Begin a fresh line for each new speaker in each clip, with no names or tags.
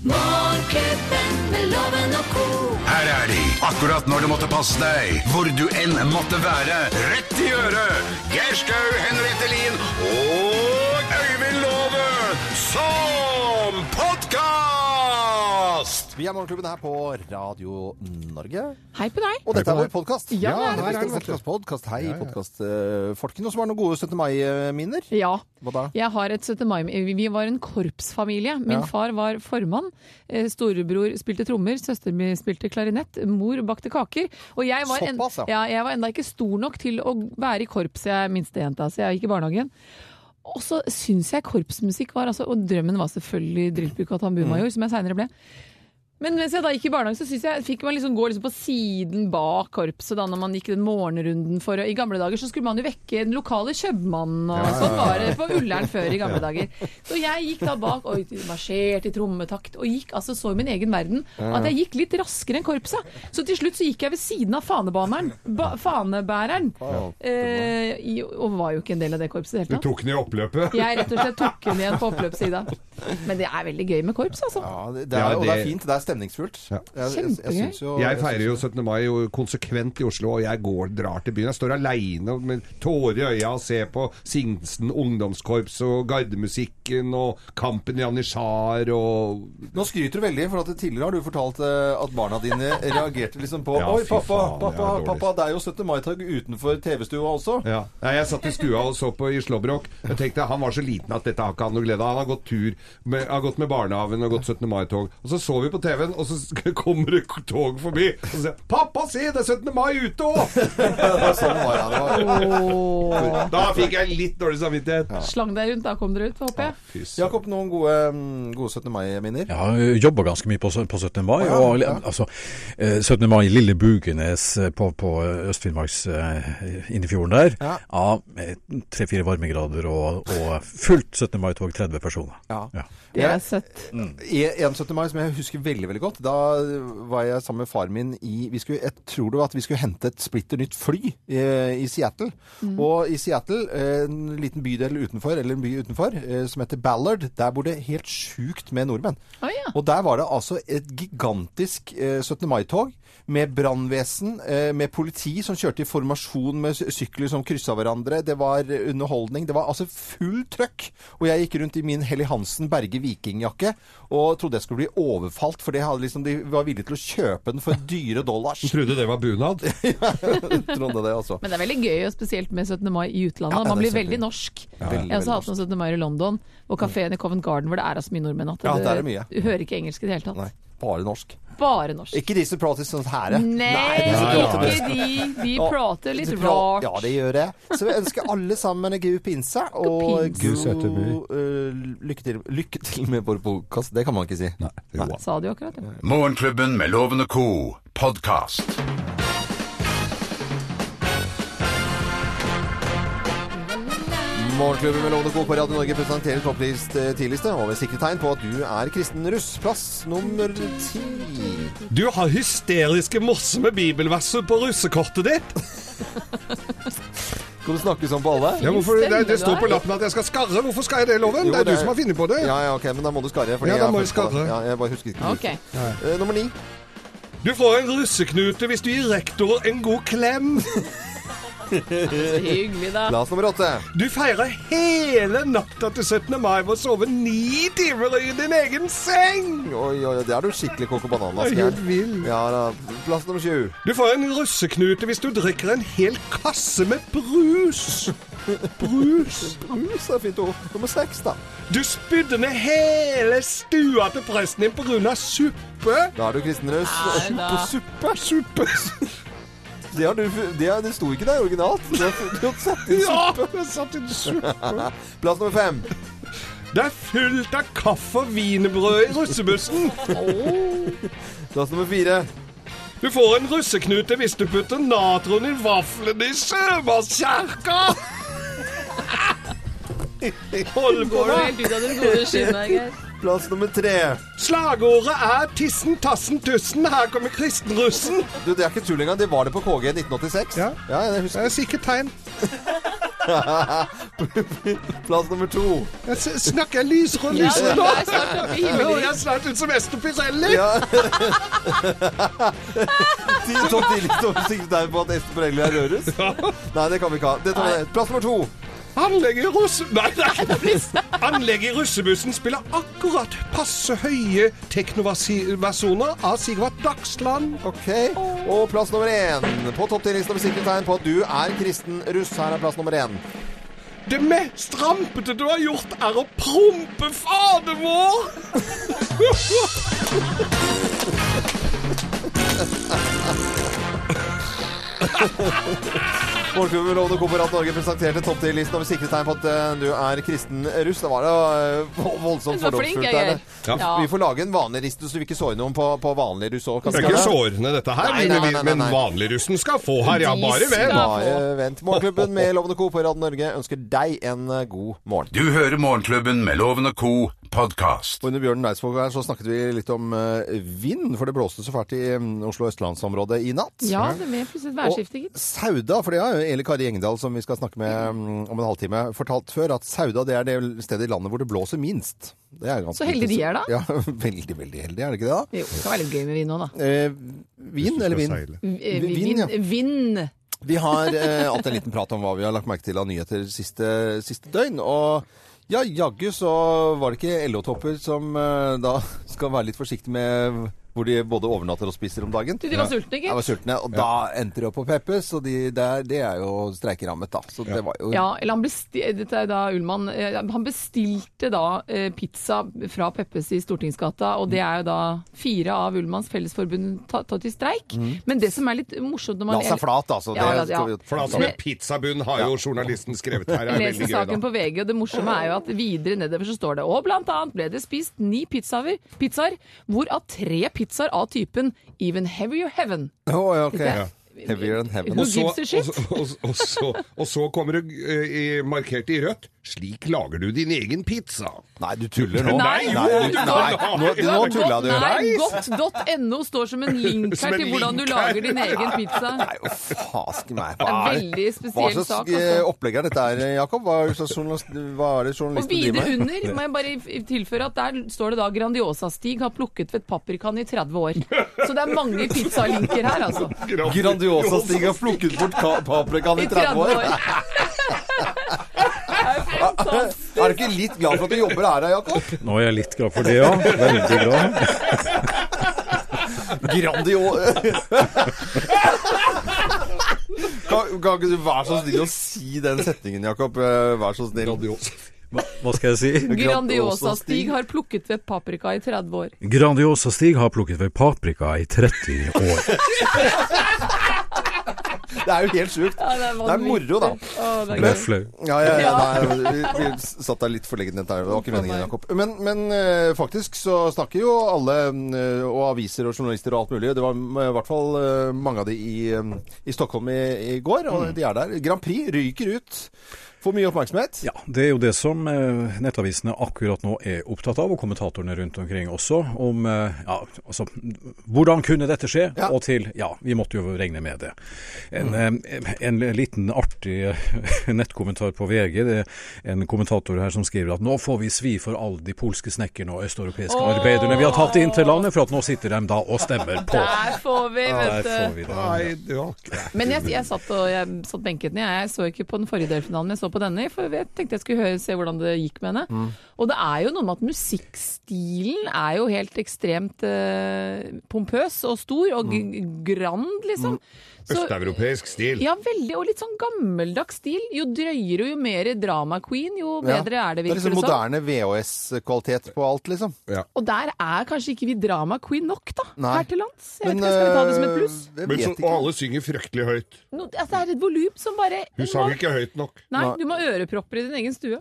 Morgenklubben med loven og ko.
Her er de, akkurat når du måtte passe deg, hvor du enn måtte være. Rett i øret! Geir Skau, Henriette Lien og Øyvind Låve som podkast!
Vi er Morgenklubben her på Radio Norge.
Hei på deg.
Og dette er vår podkast.
Ja, det er det.
Hei, podkastfolkene. Og så var det noen gode 17. mai-minner.
Ja.
eh, Hva da?
Jeg har et 17. mai Vi var en korpsfamilie. Min
Ja.
far var formann. eh, Storebror spilte trommer. Søster mi spilte klarinett. Mor bakte kaker. Og jeg var, en,
Såpass, ja.
ja, jeg var enda ikke stor nok til å være i korps, jeg er minstejenta, så jeg gikk i barnehagen. Og så syns jeg korpsmusikk var altså Og drømmen var selvfølgelig Drillpuk og
Mm.
Tambumajor, som jeg seinere ble. Men mens jeg da gikk i barnehagen, så synes jeg, fikk man liksom gå liksom på siden bak korpset da, når man gikk den morgenrunden for I gamle dager så skulle man jo vekke den lokale kjøpmannen, og sånn var det på Ullern før i gamle dager. Så jeg gikk da bak og marsjerte i trommetakt, og gikk altså så i min egen verden at jeg gikk litt raskere enn korpset. Så til slutt så gikk jeg ved siden av fanebaneren, ba, fanebæreren, eh, i, og var jo ikke en del av det korpset i det hele
Du
tatt.
tok den i oppløpet.
Jeg rett og slett tok den igjen på oppløpssida. Men det er veldig gøy med korps, altså.
Ja, det, det er,
Ja,
Og det er
det-
fint. Det er stemningsfullt.
Ja.
Jeg,
Kjempegøy.
syns jo-
Jeg feirer jo 17. mai jo konsekvent i Oslo, og jeg går, drar til byen. Jeg står aleine med tårer i øya og ser på Sinsen ungdomskorps og gardemusikken og Kampen i Janitsjar og
Nå skryter du veldig, for at tidligere har du fortalt eh, at barna dine reagerte liksom på
Ja,
Oi,
fy
pappa,
faen, det er
pappa,
dårlig.
pappa, det er jo 17. mai-tag utenfor TV-stua også.
ja. Nei, Jeg satt i skua og så på i Slåbrok. Jeg tenkte han var så liten at dette har ikke han noe glede av. Han har gått tur, med, har gått med barnehagen og gått 17. mai-tog. Og så så vi på TV-en, og så kommer det tog forbi. Og så sier jeg, 'Pappa, se, det er 17. mai ute òg!'
Det var sånn det var, ja, det var.
Da fikk jeg litt dårlig samvittighet.
Slang deg rundt, da kom dere ut, håper jeg.
Fy søren.
Jakob, noen gode, mm, gode 17. mai-minner?
Ja, jeg øh, jobber ganske mye på, sø- på 17. mai.
ja,
og,
ja.
altså, eh, 17. mai i Lille Bugenes eh, på, på Øst-Finnmarks eh, inni fjorden der.
Ja.
Ja, Tre-fire varmegrader og, og fullt 17. mai-tog, 30 personer.
Ja.
Det er søtt.
I- En 17. mai som jeg husker veldig veldig godt. Da var jeg sammen med faren min i vi skulle, Jeg tror det var at vi skulle hente et splitter nytt fly i, i Seattle.
Mm.
Og i Seattle, eh, en liten bydel utenfor, eller en by utenfor, eh, som heter Ballard, der bor det helt sjukt med nordmenn.
Å, ja.
Og der var det altså et gigantisk eh, 17. mai-tog med brannvesen, eh, med politi som kjørte i formasjon med sy- sykler som kryssa hverandre. Det var underholdning. Det var altså full trøkk. Og jeg gikk rundt i min Helly Hansen Berge vikingjakke og trodde jeg skulle bli overfalt, for det hadde liksom, de var villige til å kjøpe den for dyre dollars.
Du trodde det var bunad?
trodde det, altså.
Men det er veldig gøy, og spesielt med 17. mai i utlandet.
Ja, ja,
Man
det
blir
er
veldig
kjempegøy.
norsk.
Veldig,
Jeg har også
veldig
hatt noen 17. maier i London, og kafeen i Covent Garden hvor det er så mye nordmenn at
Ja,
det-
der er mye.
du hører ikke engelsk i det hele
Nei,
tatt.
bare norsk.
Bare norsk.
Ikke disse protestants her. eh.
Nei,
disse protestants-
ikke de. De prater litt
Du
rart.
pra- Ja, det gjør det. Så vi ønsker alle sammen en god pinse, og
pinse.
God søte
god
by.
eh, lykke, til, lykke til med vår podkast. Det kan man ikke si.
Jo.
Sa de jo akkurat, ja.
Morgenklubben med Loven og Co. podkast.
Morgenklubben med Lovende Co. på Radio Norge presenterer topplist eh, tidligste, og med sikre tegn på at du er kristen russ. Plass nummer ti.
Du har hysteriske morsomme bibelverser på russekortet ditt.
Skal du snakke sånn på alle?
Ja, hvorfor,
Stemmer
det, det
det,
står på
da?
lappen at jeg skal skarre. Hvorfor skal jeg det, Loven?
Jo,
det er
det-
du som har funnet på det.
Ja, ja, ok, men da må du skarre. fordi
Ja, da
jeg er
må jeg
først på det.
skarre.
Ja, jeg bare husker ikke.
Ok.
Eh, nummer ni.
Du får en russeknute hvis du gir rektor en god klem.
Så hyggelig, da.
Plass nummer åtte.
Du feirer hele natta til 17. mai ved å sove ni timer i din egen seng.
Oi, oi, oi, det er du skikkelig koko banan,
Jeg er helt vill.
Ja, da. Plass nummer sju.
Du får en russeknute hvis du drikker en hel kasse med brus. Brus.
Brus er fint ord. Nummer seks, da.
Du spydde ned hele stua til presten din pga. suppe.
Da er du kristen russ.
Nei, da.
Suppe, suppe, suppe. Det, har du, fu- det, har- det sto ikke der originalt. Du har, fu- du har satt inn suppe.
Ja, det satt en suppe.
Plass nummer fem.
Det er fullt av kaffe og wienerbrød i russebussen.
Plass nummer fire.
Du får en russeknute hvis du putter natron i vaflene i sjømannskjerka. Hold på
Går du
deg.
helt ut av den gode skinnet, Geir?
Plass nummer tre.
Slagordet er 'Tissen, tassen, tussen'. Her kommer kristenrussen.
Du, det er ikke tull engang. Det var det på KG i 1986.
Ja.
jeg husker.
sikkert tegn.
Plass nummer to.
Jeg s- snakker jeg lysrød lysrød nå?
er snart oppe i
Nå er
himmelen.
jeg snart ut som Esther Piselli!
Ti topp ti liksom sikter på at Espen Borelli er Røros. Nei, det kan vi ikke ha. Det tar vi. Plass nummer to.
Anlegget i russe... Nei, nei. Anlegget i russebussen spiller akkurat passe høye teknoversjoner av Sigvart Dagsland.
Ok. Og plass nummer én. På topp ti-lista med sikre tegn på at du er kristen russ. Her er plass nummer én.
Det mest rampete du har gjort, er å prompe fader vår!
Morgenklubben Lovende Korporat Norge presenterte topp ti-listen over sikre tegn på at eh, du er kristen russ. Det var da eh, vo- voldsomt
Så flink
fordomsfullt
jeg
der. eh.
er. Ja.
Vi får lage en vanlig riste så vi ikke sårer noen på, på vanlig russ òg.
Det er ikke sårende dette her,
Nei,
men,
nei,
vi-
nei, nei,
men
nei.
vanligrussen skal få her, ja.
De
Bare vel.
skal-
Bare eh, vent. Morgenklubben med Lovende Co på Radio Norge ønsker deg en eh, god morgen.
Du hører Morgenklubben med Loven og Co. podkast.
Og under Bjørn Eidsvåg her så snakket vi litt om eh, vind, for det blåste så fælt i mm, Oslo østlandsområdet i natt.
Ja, det er med plutselig et værskifte, gitt.
Sauda, for det har jo Eli Kari Engdahl, som vi skal snakke med mm, om en halvtime, fortalt før, at Sauda det er det stedet i landet hvor det blåser minst. Det er ganske
Så heldige de er da.
Ja, veldig, veldig heldige, er det ikke det da?
Jo, det kan være litt gøy med vind òg, da.
Eh, vin eller vin?
Eh,
Vind,
Vind,
ja.
vind.
Vi har eh, hatt en liten prat om hva vi har lagt merke til av nyheter siste, siste døgn. Og ja, jaggu så var det ikke LO-topper som eh, da skal være litt forsiktige med hvor de både overnatter og spiser om dagen.
Du, de var sultne,
Jeg
gitt.
var sultne, og da endte de opp på Peppes, og de der, det er jo streikerammet, da. Så det var jo
Ja, eller han besti dette er da Ullmann. eh, Han bestilte da eh, pizza fra Peppes i Stortingsgata, og det er jo da fire av Ullmanns Fellesforbund ta- tatt i streik.
Mm.
Men det som er litt morsomt når
La
man
seg flat, altså.
Ja, la-
det,
ja.
For det er altså med pizzabunn har jo journalisten skrevet her. er
Jeg leser
veldig gøy da.
saken på VG, og det morsomme er jo at videre nedover så står det Og blant annet ble det spist ni pizzaer, pizzaer hvorav tre pizzaer av typen Even Heavier Heaven.
Å, ja, ok.
Ja.
Heavier than heaven.
Who
Og så,
gives a shit?
og, så- og, så- og, så, og så kommer det eh, i- markert i rødt 'Slik lager du din egen pizza'.
Nei, du tuller nå.
Nei, jo,
nei,
du-
nei, nå, nå tulla du.
Nei, godt.no står som en link
Som
her
en
til hvordan du
link her.
lager din egen pizza.
Nei, jo, faske meg.
Det
Hva er
er en
det?
veldig
Hva
spesiell
slags
sak.
eh,
Altså.
opplegg er dette her, Jakob? Hva er det slags journalist- hva er det
Og
journalisten
videre
driver med?
under må jeg bare i- tilføre at der står det da 'Grandiosa-Stig har plukket ved paprikan i 30 år'. Så det er mange pizzalinker her, altså.
Grandiosa-Stig har plukket bort ka- paprikaen
I
i 30 år.
fantastisk.
Er du ikke litt glad for at du jobber her, da, Jakob?
Nå er jeg litt glad for det, ja. Veldig glad.
Grandio... Kan, kan ikke du være så snill å si den setningen, Jakob? Eh, Vær så snill.
Hva, hva skal jeg si?
Grandiosa-Stig har plukket ved paprika i 30 år.
Grandiosa-Stig har plukket ved paprika i 30 år.
Det er jo helt sjukt.
Ja, det er
Det er moro, da.
Å, det er
Jeg ble
gøy.
flau.
Ja, ja, ja,
Ja.
nei, vi, vi satt der litt for lenge. Det var ikke meningen, Jakob. Men, men eh, faktisk så snakker jo alle, eh, og aviser og journalister og alt mulig, det var eh, i hvert fall eh, mange av de i, eh, i Stockholm i, i går, og de er der. Grand Prix ryker ut. Får mye oppmerksomhet.
Ja, det er jo det som eh, nettavisene akkurat nå er opptatt av, og kommentatorene rundt omkring også. Om eh, ja, altså hvordan kunne dette skje,
Ja.
og til ja, vi måtte jo regne med det.
Mm.
En, eh, en liten artig eh, nettkommentar på VG. Det er en kommentator her som skriver at nå får vi svi for alle de polske snekkerne og østeuropeiske arbeiderne vi har tatt inn til landet, for at nå sitter de da og stemmer på.
Der får vi,
Der
vet
får
du.
vi det.
Nei, det var ikke-
Men jeg, jeg satt, og, jeg satt benket ned. Jeg så ikke på den forrige delfinalen, men jeg så på denne. For jeg tenkte jeg skulle høre, se hvordan det gikk med henne.
Mm.
Og det er jo noe med at musikkstilen er jo helt ekstremt eh, pompøs og stor og g
Mm.
grand, liksom. Så,
Østeuropeisk stil.
ja, veldig. Og litt sånn gammeldags stil. Jo drøyere og jo mer drama queen, jo
Ja.
bedre er
Det er
det, virker
liksom
det som.
moderne VHS-kvalitet på alt, liksom.
Og der er kanskje ikke vi drama queen nok, da.
Nei.
Her til lands. Jeg vet ikke, skal vi ta det som et
eh,
pluss?
Jeg
Men
vet
så,
ikke.
og alle synger fryktelig høyt.
No, altså, det er et volum som bare
Hun sang ikke høyt nok.
Nei, du må ha ørepropper i din egen stue.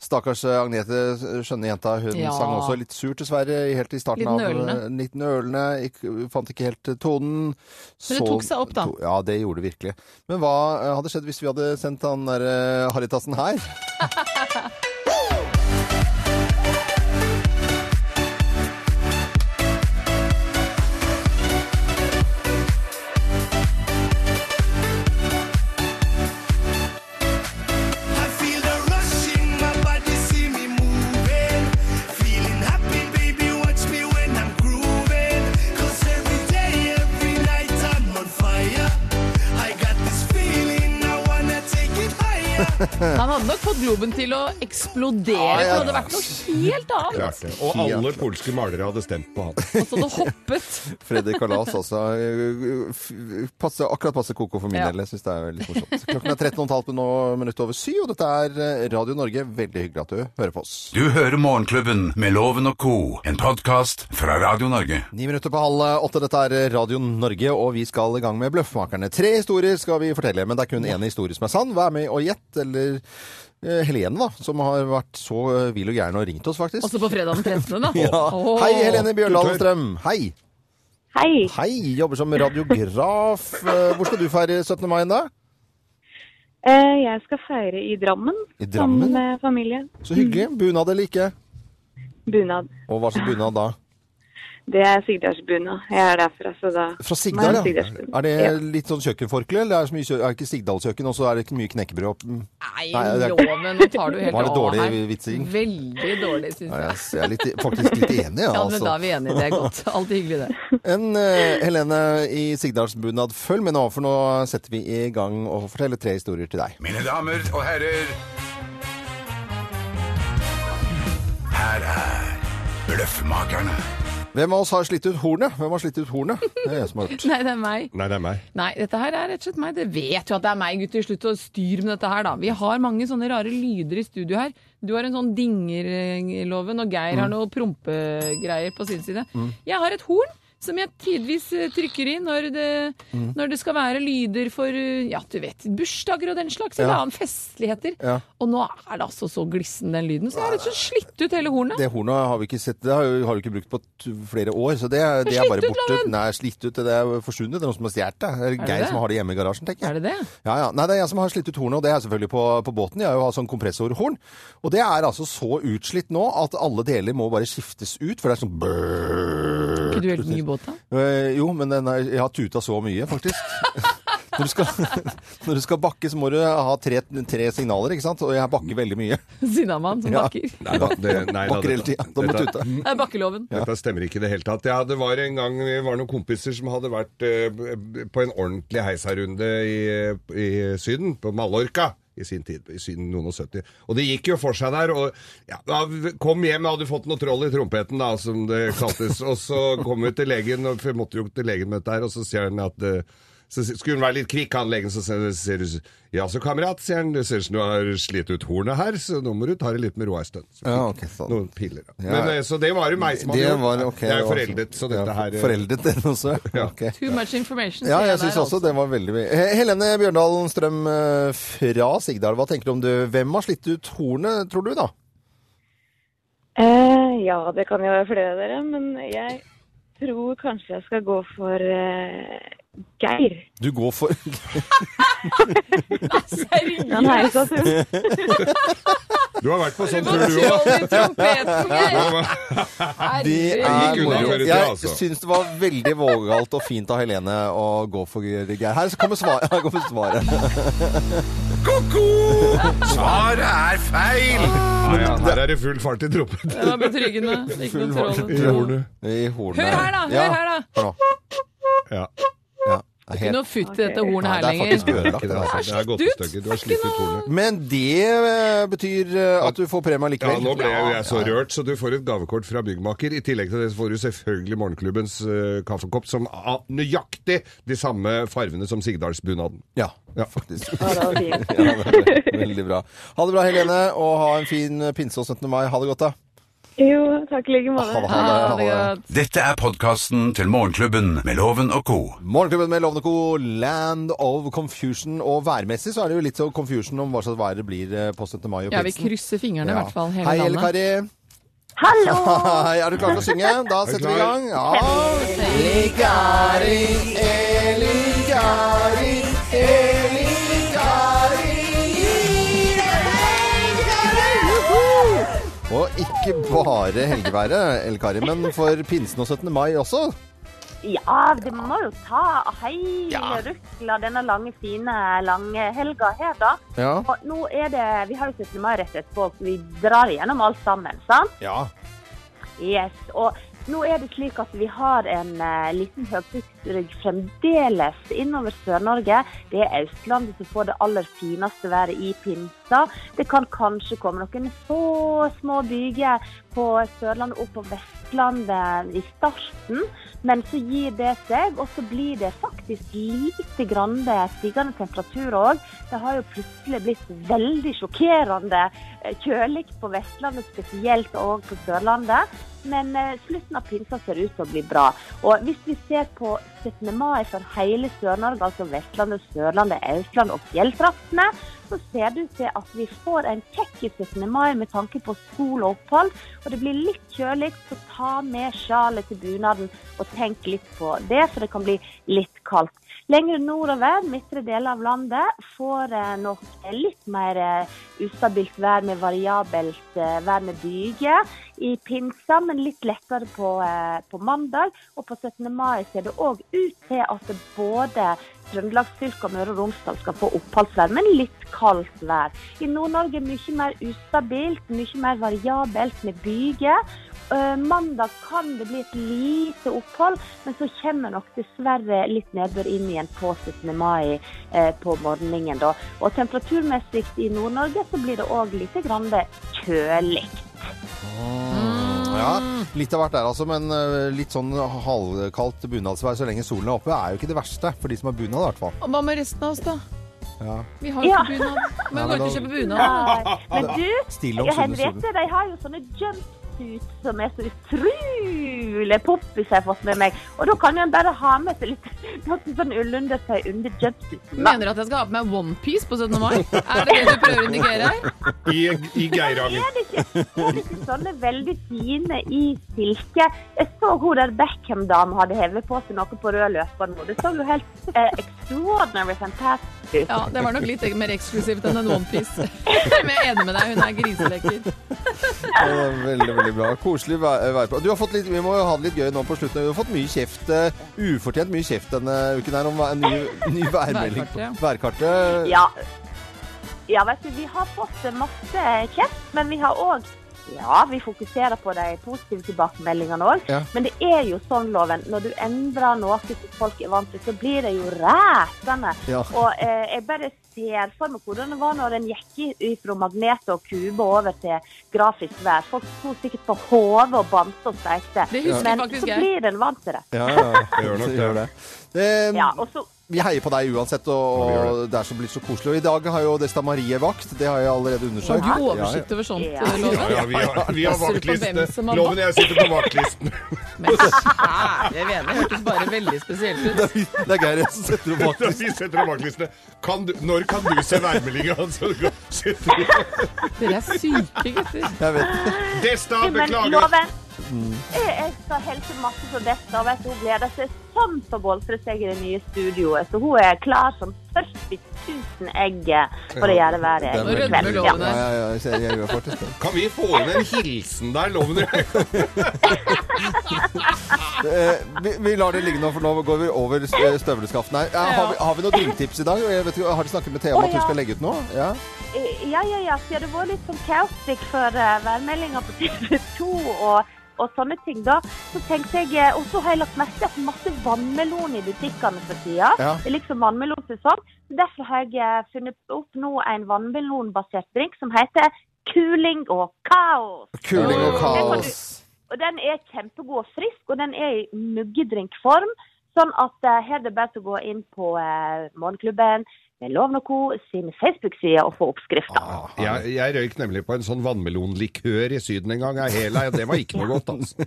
Stakkars eh, Agnete, eh, skjønne jenta, hun
Ja.
sang også litt surt dessverre, i- helt i starten
Litt nølende.
av eh, Litt nølende. Ikk- Fant ikke helt eh, tonen.
det tok seg opp, da.
to- ja, det gjorde det virkelig. Men hva eh, hadde skjedd hvis vi hadde sendt han der eh, Haritassen her?
Han hadde nok fått globen til å eksplodere,
Ja,
for det
ja.
hadde vært noe helt annet.
Klart det. Og alle polske malere hadde stemt på han.
Og så hadde det hoppet.
Fredrik Kalas, altså. eh, f- Passe, akkurat passe koko for min
Ja.
del. Jeg syns det er litt morsomt. Klokken er 13,5 nå, minutt over syv, og dette er eh, Radio Norge. Veldig hyggelig at du hører på oss.
Du hører Morgenklubben med Loven og Co., en podkast fra Radio Norge.
Ni minutter på halv åtte. Dette er Radio Norge, og vi skal i gang med Bløffmakerne. Tre historier skal vi fortelle, men det er kun én historie som er sann. Vær med og gjett, eller eh, Helene, da, som har vært så eh, vill og gæren og ringt oss, faktisk.
Også på fredag den 13. da.
Ja.
Altså, Åh.
Hei, Helene Bjørndalen Strøm. Hei.
Hei.
Hei, jobber som radiograf. Eh, Hvor skal du feire 17. mai da?
Eh, Jeg skal feire i Drammen,
I Drammen?
sammen med familie.
Så hyggelig. Bunad eller ikke?
Bunad.
Og hva slags bunad da?
Det er sigdalsbunad. Jeg er derfra, så da
Fra Sigdal, ja.
Sigdalsbunad.
Er det
Ja.
litt sånn kjøkkenforkle, eller er det, så mye, kjø- er det ikke Sigdalskjøkken, og så er det ikke mye knekkebrød? Mm.
Nei,
Nei, det er-
loven, nå tar du helt
Var det
av
dårlig
her.
vitsing?
Veldig dårlig, syns
Ja,
jeg.
Jeg jeg er litt, faktisk litt enig, ja,
Ja, men
altså.
da er vi enige. Det er godt. Alltid hyggelig, det.
En eh, Helene i Sigdalsbunad, følg med nå, for nå setter vi i gang og forteller tre historier til deg.
Mine damer og herrer, her er Bløffmakerne.
Hvem av oss har slitt ut hornet? Hvem har slitt ut hornet? Det er jeg som har gjort.
Nei, det er meg.
Nei, det er meg.
Nei, dette her er rett og slett meg. Det vet jo at det er meg, gutter. Slutt å styre med dette her, da. Vi har mange sånne rare lyder i studio her. Du har en sånn dingerloven, og Geir
Mm.
har noe prompegreier på sin side. Jeg har et horn. Som jeg tidvis eh, trykker i når det,
Mm.
når det skal være lyder for eh, ja, du vet, bursdager og den slags, eller
Ja.
annen festligheter.
Ja.
Og nå er det altså så glissen, den lyden. Så jeg har rett og slett slitt ut hele hornet.
Det hornet har vi ikke sett, det har jo- har du ikke brukt på t flere år, så det, det er
slitt
bare
ut,
borte.
Loven.
Nei, slitt ut, det er forsvunnet, det er noen som har stjålet det. Det er
det
Geir
det?
som har det hjemme i garasjen, tenker jeg.
Er det det?
Ja, ja. Nei, det er jeg som har slitt ut hornet, og det er selvfølgelig på, på båten. Jeg har jo hatt sånn kompressorhorn. Og det er altså så utslitt nå at alle deler må bare skiftes ut, for det er sånn brrrr.
Ikke du helt ny i båt, da?
Eh, jo, men den er, jeg har tuta så mye, faktisk. Når du, skal, når du skal bakke, så må du ha tre, tre signaler, ikke sant? Og jeg bakker veldig mye.
Sinnamann som
Ja.
bakker.
Nei da, det, nei, da,
Bakker hele tida. Da må du
dette,
tute.
Det er bakkeloven.
dette stemmer ikke i det hele tatt. Ja, det var en gang vi var noen kompiser som hadde vært eh, b- på en ordentlig heisarunde i, i Syden, på Mallorca. I sin tid, i Syden noen og 70. Og det gikk jo for seg der. Og ja, da kom hjem, hadde fått noe troll i trompeten, da, som det kaltes. Og så kom vi til legen, og for vi måtte jo til legen med dette her, og så sier han at eh, så skulle hun være litt kvikk, han legen, så sier sier hun Ja, så kamerat, sier han, det ser ut som du har slitt ut hornet her, så nå må du ta det litt med ro ei stund. Så
Ja,
fikk
ok, sånn.
Noen piller. da.
Ja.
Men, eh, så det var jo meg som hadde
Det
gjort
var ok.
Jeg er jo
det var-
foreldet, så
Ja,
dette her eh,
Foreldet, den også?
Ja.
Ok.
Too much information.
Ja,
sier
jeg
der,
syns også
altså.
det var veldig mye. He- Helene Bjørndalen Strøm eh, fra Sigdal, hva tenker du om du Hvem har slitt ut hornet, tror du, da?
Eh, ja, det kan jo være flere av dere, men jeg tror kanskje jeg skal gå for eh, Geir.
Du går for
Seriøst?
Han heier så sunt.
Du har vært på sånn
Hva
tur, du òg.
troll i trompeten, Geir?
Ja,
Det er
gikk unna
moro.
før i tida,
Jeg
altså.
syns det var veldig vågalt og fint av Helene å gå for Geir. Her kommer svaret. Her kommer svaret.
Ko-ko! Svaret er feil!
ja, her er det full fart i trompeten.
Det var betryggende. Ikke noe troll.
I hornet.
Hør her, da! Hør her, da!
Hør nå.
Ja.
Ja. Det er
Ikke
helt-
noe futt i dette hornet
Nei,
her
det er faktisk
lenger.
ødelagt.
Ikke det,
det, altså.
altså. Det er gått i stykker. Du har slitt ut hornet.
Men det eh, betyr eh, at du får premie
Ja,
likevel.
nå ble jo jeg så rørt, så du får et gavekort fra byggmaker. I tillegg til det så får du selvfølgelig Morgenklubbens eh, kaffekopp, som har nøyaktig de samme farvene som Sigdalsbunaden.
Ja,
Ja.
faktisk.
Ja, det var fint.
Ja, det er Veldig bra. Ha det bra, Helene, og ha en fin eh, pinse og 17. mai. Ha det godt, da.
Jo, takk i like
Ha det,
måte.
ha det,
Ja,
ha
det
det.
er godt.
Dette er podkasten til Morgenklubben med Loven og co.
Morgenklubben med Lovende Co, Land of Confusion. Og værmessig så er det jo litt så confusion om hva slags vær det blir eh, på 17. mai og
Ja, vi
pinsen.
krysser fingrene i
Ja.
hvert fall. Hele
Hei, Elle
landet.
Kari.
Hallo!
Hei, er du klar til å synge? Da setter vi i gang. Ja. Eli Kari, Eli Kari, Eli Kari. Og ikke bare helgeværet, Elle Kari, men for pinsen og 17. mai også.
Ja, det må jo ta hele rukla denne lange, fine lange helga her, da.
Ja.
Og nå er det Vi har jo 17. mai rett etterpå, så vi drar gjennom alt sammen, sant?
Ja.
Yes. Og Nå er det slik at vi har en eh, liten høytrykksrygg fremdeles innover Sør-Norge. Det er Østlandet som får det aller fineste været i pinsa. Det kan kanskje komme noen få små byger på Sørlandet og på Vestlandet i starten, men så gir det seg, og så blir det faktisk lite grann stigende temperatur òg. Det har jo plutselig blitt veldig sjokkerende eh, kjølig på Vestlandet spesielt, og på Sørlandet. Men eh, slutten av pinsa ser ut til å bli bra. Og hvis vi ser på 17. mai for hele Sør-Norge, altså Vestlandet, Sørlandet, Austlandet og fjelltraktene, så ser det ut til at vi får en kjekk 17. mai med tanke på sol og opphold. Og det blir litt kjølig, så ta med sjalet til bunaden og tenk litt på det, for det kan bli litt kaldt. Lenger nordover, midtre deler av landet, får eh, nok litt mer eh, ustabilt vær med variabelt eh, vær med byger i pinsa, men litt lettere på, eh, på mandag. Og på 17. mai ser det òg ut til at det både Trøndelagsfylket og Møre og Romsdal skal få oppholdsvær, men litt kaldt vær. I Nord-Norge mye mer ustabilt, mye mer variabelt med byger. Eh, Mandag kan det bli et lite opphold, men så kommer nok dessverre litt nedbør inn igjen på 17. mai eh, på morgenen. Da. Og temperaturmessig i Nord-Norge så blir det òg litt grann kjølig.
Mm. Ja, litt av hvert der altså, men eh, litt sånn halvkaldt bunadsvær så lenge solen er oppe er jo ikke det verste for de som har bunad i hvert fall.
Og Hva med resten av oss, da?
Ja.
Vi har jo
Ja.
ikke bunad. Men
Nei, men
vi går ikke
da-
og kjøper bunad.
Nei, Men du,
Stille om solen, solen.
Henriette, de har jo sånne jumpsuit som er så utrolig poppis, har jeg fått med meg. Og da kan en bare ha med seg litt noe sånn ullundertøy under jumpsuiten. da.
Mener du at jeg skal ha på meg onepiece på 17. mai? Er det det du prøver å indikere her?
I, i Geiranger.
Er det ikke, er det ikke sånne veldig fine i silke? Jeg så hun der Beckham-dame hadde hevet på seg noe på rød løper nå. Det så jo helt eh, extraordinary fantastic ut.
Ja, det var nok litt mer eksklusivt enn en onepiece. Men jeg er enig med deg, hun er griselekker.
Ja, det er Veldig, veldig bra. Koselig vær- værpå. Du har fått litt, vi må jo ha det litt gøy nå på slutten. Du har fått mye kjeft, eh, ufortjent mye kjeft denne uken her om en ny, ny værmelding.
Værkartet, ja.
Værkartet.
Ja. ja, vet du, vi har fått masse kjeft, men vi har òg ja, vi fokuserer på de positive tilbakemeldingene òg,
Ja.
men det er jo sånn, Loven. Når du endrer noe som folk er vant til, så blir det jo ræsende.
Ja.
Og eh, jeg bare ser for meg hvordan det var når en gikk i- fra magnet og kube over til grafisk vær. Folk sto sikkert på hodet og bamste og steikte.
Det husker
Men
faktisk
så
jeg.
blir en vant til det.
Ja, ja, ja.
Gjør nok
Så
det.
gjør det. Eh,
Ja, og så
Vi heier på deg uansett, og,
Ja, vi
og det er så blitt så koselig. Og i dag har jo Desta Marie vakt. Det har jeg allerede
Har
undersøkt.
du
Ja, ja.
oversikt over sånt,
Ja.
Ja,
Loven?
ja, vi har, vi har
Passer du på hvem
vaktliste.
som har
Loven og jeg sitter på vaktlisten.
Men kjære vene, Ah, det hørtes bare veldig spesielt ut.
Det er- Det er Geir som setter opp
Da
vakten.
vi setter opp vaktlistene. Kan du, når kan du se værmeldinga? Så sitter vi
Dere er syke gutter.
Jeg vet.
Desta,
Men
beklager.
Loven, jeg, jeg skal hilse masse fra Desta. og Vet, du, hun gleder seg sånn til å boltre seg i det nye studioet. Så hun er klar som 40 000 egg eh, for å gjøre været
Det er
i
veldig
kveld.
bra.
Ja.
Ja, ja, ja, jeg ser- jeg gjør faktisk det.
Kan vi få inn en hilsen der, Loven og jeg?
Eh, vi, vi lar det ligge nå, for nå går vi over eh, støvleskaften her. Ja, har, vi, har vi noen drinktips i dag? Jeg vet, ikke, har du snakket med Thea om at hun skal legge ut noe? Ja.
Ja, ja, ja. Så det var litt sånn kaotisk for uh, værmeldinga på TV 2 og, og sånne ting, da. Så tenkte jeg eh, Og så har jeg lagt merke til at det er masse vannmelon i butikkene for tida.
Ja.
Det er liksom vannmelonsesong. Så derfor har jeg eh, funnet opp nå en vannmelonbasert drink som heter Kuling og kaos.
Kuling og kaos.
Og den er kjempegod og frisk, og den er i muggedrinkform. Sånn at eh, her er det bare til å gå inn på eh, Morgenklubben med Loven og Co. sin Facebook-side og få oppskrifta.
Ah,
Jeg, jeg røyk nemlig på en sånn vannmelonlikør i Syden en gang, av Hela. Det var ikke noe godt, altså.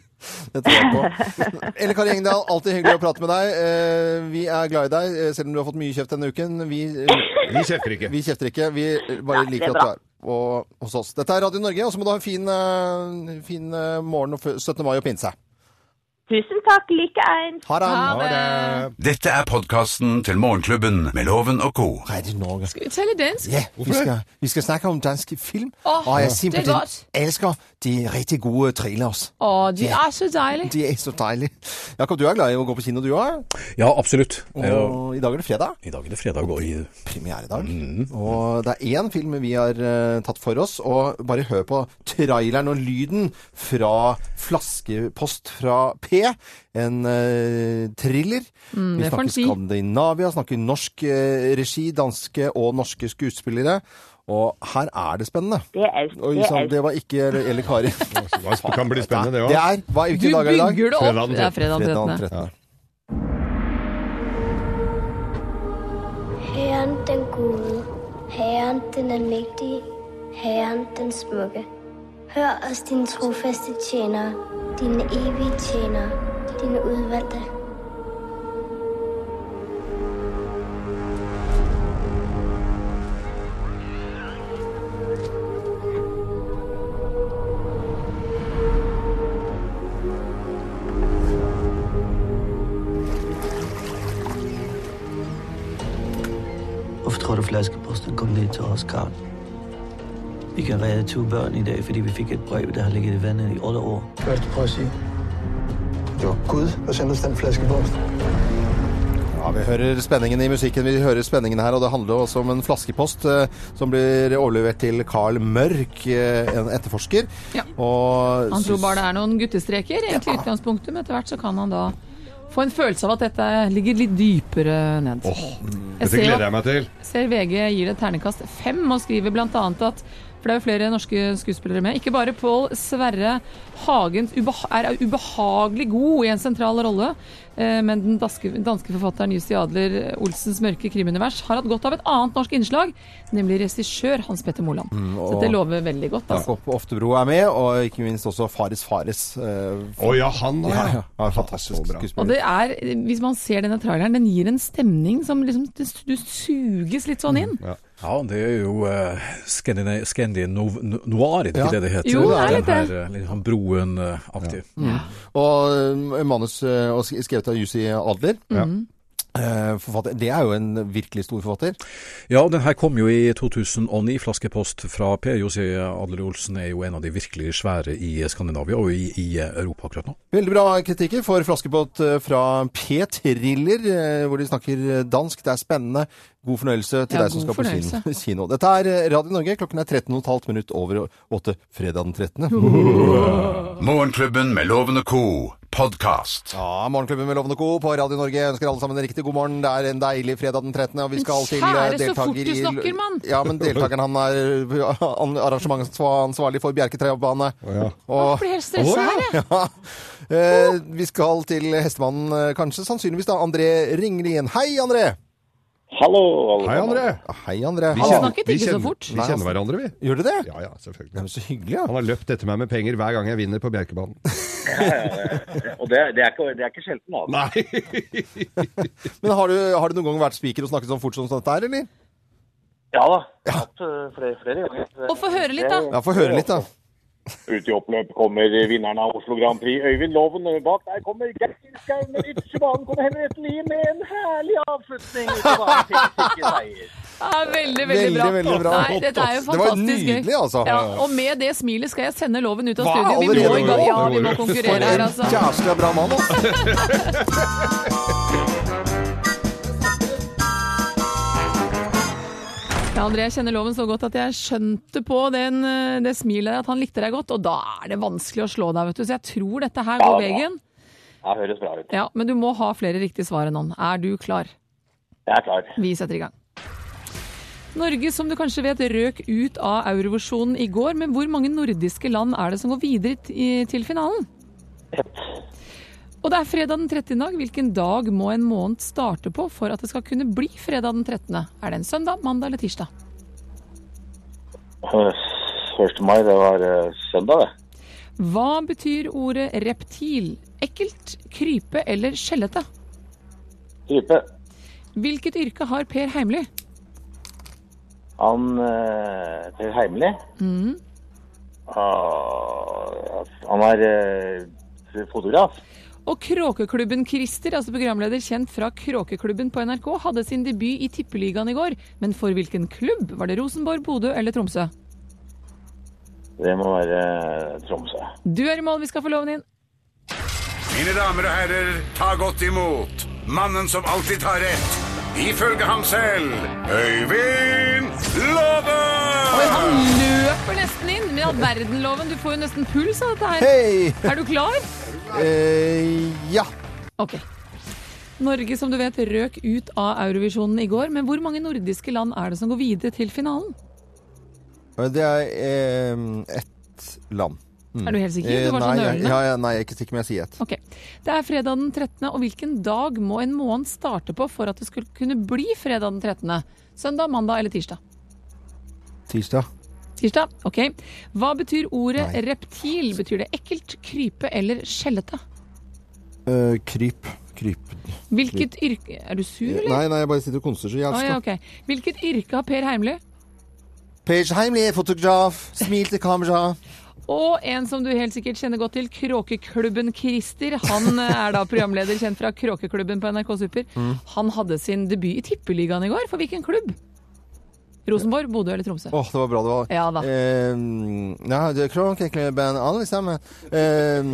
Det tror jeg på. Elle Kari Engdahl, alltid hyggelig å prate med deg. Eh, vi er glad i deg, eh, selv om du har fått mye kjeft denne uken. Vi, eh,
Vi kjefter ikke.
vi kjefter ikke. Vi eh, bare
Nei, det
liker
er
at du er på- hos oss. Dette er Radio Norge, og så må du ha en fin, eh, fin eh, morgen og fø- 17. mai og pinse.
Tusen takk, likeens.
Ha det!
Ha det.
Dette er podkasten til Morgenklubben med Loven og co.
Radio Norge.
Skal vi tale dansk?
Ja, vi skal, vi skal snakke om dansk film,
Åh,
og jeg
det er
simpelthen
godt.
elsker de rigtig gode trailers.
Å, de
Ja.
er så deilige.
De er så deilige. Jakob, du er glad i å gå på kino, du òg?
Ja, absolutt. Jeg,
Og i dag er det fredag.
I dag er det fredag, og i
Premieredag. Mm. Og det er én film vi har eh, tatt for oss. Og bare hør på traileren og lyden fra flaskepost fra P. En eh, thriller.
Mm, det
vi
får en
snakker
si.
Skandinavia, snakker norsk eh, regi, danske og norske skuespillere. Og her er det spennende.
Det er Aust.
Oi
det er
sann,
Aust.
det var ikke Elle Elle Kari.
Det kan bli spennende, det
Det
òg.
er hva,
Du
Hvilken dag er det i dag?
bygger det
Fredag
opp.
den
Det er fredag
Fredag
den
den
13.
13.
Herren den gode, Herren den almægtige, Herren den smukke. Hør os, dine trofaste tjenere, dine evige tjenere, dine udvalgte.
Hvorfor tror du, flaskeposten kom ned til os, Karl? Vi kan redde to børn i dag, fordi vi fik et brev, der har ligget i vandet i 8 år.
Hvad er det, du prøver at sige? Det var Gud, der sendte os den flaskepost.
Ja, Vi hører spenningen i musikken, vi hører spenningen her, og det handler også om en flaskepost eh, som blir overlevert til Carl Mørk, eh, en etterforsker.
Ja.
Og
Han tror
syns-
bare det er noen guttestreker, egentlig i utgangspunktet, men etter hvert så kan han da få en følelse av at dette ligger litt dypere ned. jeg
Dette
ser,
gleder
at-
jeg meg til.
ser VG gir det ternekast fem og skriver blant annet at for det er jo flere norske skuespillere med. Ikke bare Pål Sverre Hagen ubeha er ubehagelig god i en sentral rolle, eh, men den danske, danske forfatteren Jussi Adler Olsens mørke krimunivers har hatt godt av et annet norsk innslag, nemlig regissør Hans Petter Moland.
Mm,
Så dette lover veldig godt. Altså.
Jakob Oftebro er med, og ikke minst også Fares Fares. eh,
Å ja, han da, ja.
Ja, fantastisk
Så bra.
skuespiller.
Og det er, Hvis man ser denne traileren, den gir en stemning som liksom Du suges litt
Mm,
sånn inn.
Ja, det er jo uh, Scandina Scandinov- no- Noir, er det ikke
Ja.
det det heter?
Jo, det Mm. er litt
Den her, eh, litt sånn Broen-aktig.
Og eh, manus eh, og sk- skrevet av Jussi Adler. Eh, Forfatter. Det er jo en virkelig stor forfatter.
Ja, den her kom jo i 2009, flaskepost fra P. José Adler Olsen er jo en av de virkelig svære i Skandinavia og i, i Europa akkurat nå.
Veldig bra kritikker for Flaskepott eh, fra P-Thriller, eh, hvor de snakker eh, dansk. Det er spennende. God fornøyelse til
Ja,
deg som skal
god
på
fornøyelse.
kino. kino. Dette er eh, Radio Norge. Klokken er 13,5 minutt over åtte fredag den 13.
Morgenklubben med Loven og co. podkast.
Ja, Morgenklubben med Loven og Co. på Radio Norge. Jeg ønsker alle sammen en riktig god morgen. Det er en deilig fredag den 13. Og vi
Men
skal til
kjære,
eh,
så
deltaker
fort du
i-
snakker, mann.
Ja, men deltakeren han er eh, an- arrangementsansvarlig for Bjerketrebbane.
ja.
Jeg
Og
blir helt stressa her, jeg.
ja. Eh, vi skal til hestemannen, eh, kanskje. Sannsynligvis da. André Ringlien. Hei, André!
Hallo,
Hei, André.
Hei, André.
Vi
Han
kjenner-
snakket
vi
ikke så
kjenner-
fort.
Vi kjenner hverandre, vi.
Gjør du det?
Ja, ja,
Nei,
selvfølgelig.
men så hyggelig, ja.
Han har løpt etter meg med penger hver gang jeg vinner på Bjerkebanen.
Og det, det, er ikke, det er ikke sjelden, altså.
Nei!
Men har du, har du noen gang vært spiker og snakket sånn fort som dette her, eller?
Ja da, jeg har hatt eh, flere, flere ganger.
Og få høre litt, da.
Ja, få høre litt, da.
Ut i oppløp kommer vinneren av Oslo Grand Prix, Øyvind Loven. og Bak der kommer Geir Skau med ytterbanen. Kommer Henriette Lie med en herlig avslutning. Så da er det sikker seier.
Ja, veldig, veldig bra.
Veldig, veldig bra.
Nei, dette er jo
Det var
fantastisk gøy.
nydelig, altså.
Ja, og med det smilet skal jeg sende loven ut av
Hva,
studio. Vi må,
allerede
i gang-
nå?
ja, vi må
For
konkurrere her,
en
altså.
jævla bra mann, altså.
Ja, André, jeg kjenner loven så godt at jeg skjønte på den, eh, det smilet der at han likte deg godt. Og da er det vanskelig å slå deg, vet du. Så jeg tror dette her går
Ja, ja.
veien.
Ja, høres bra ut.
Ja, men du må ha flere riktige svar enn han. Er du klar?
Jeg er klar.
Vi setter i gang. Norge, som du kanskje vet, røk ut av Eurovisjonen i går, men hvor mange nordiske land er det som går videre t- i- til finalen? Og det er fredag den 13. i dag. Hvilken dag må en måned starte på for at det skal kunne bli fredag den 13.? Er det en søndag, mandag eller tirsdag?
Eh, 1. mai, det var eh, søndag, det.
Hva betyr ordet reptil? Ekkelt, krype eller skjellete?
Type.
Hvilket yrke har Per Heimly?
Han eh, Per Heimli. Ah, han er eh, fotograf.
Og Kråkeklubben Christer, altså programleder kjent fra Kråkeklubben på NRK, hadde sin debut i Tippeligaen i går. Men for hvilken klubb? Var det Rosenborg, Bodø eller Tromsø?
Det må være eh, Tromsø.
Du er i mål, vi skal få loven inn.
Mine damer og herrer, ta godt imot mannen som alltid tar rett. Ifølge ham selv Øyvind Låve!
Han løper nesten inn med all verdenloven. Du får jo nesten puls av dette her.
Hei!
Er du klar?
Eh, ja.
Ok. Norge, som du vet, røk ut av Eurovisjonen i går. Men hvor mange nordiske land er det som går videre til finalen?
Det er eh, ett land. Mm.
Er du helt sikker? Du var sånn så
nei, jeg-
nølende.
Ja, ja, nei, jeg er ikke sikker, men jeg sier ett.
Ok. Det er fredag den 13., og hvilken dag må en måned starte på for at det skulle kunne bli fredag den 13.? Søndag, mandag eller tirsdag?
Tirsdag.
Tirsdag. Ok. Hva betyr ordet reptil? Betyr det ekkelt, krype eller skjellete?
Eh, kryp. Kryp. Eh,
Hvilket yrke Er du sur, eller?
Nei, nei, jeg bare sitter og konser så
Å,
jævlig.
ja, ok. Hvilket yrke har Per Heimly?
Page Heimli, fotograf. Smil til kamera.
Og en som du helt sikkert kjenner godt til, Kråkeklubben Christer. Han eh, er da programleder kjent fra Kråkeklubben på NRK Super.
Mm.
Han hadde sin debut i Tippeligaen i går. For hvilken klubb? Rosenborg, Bodø eller Tromsø?
Åh, det var bra det var.
Ja da.
Eh, ja, det er Kråkeklubben, alle sammen. Eh,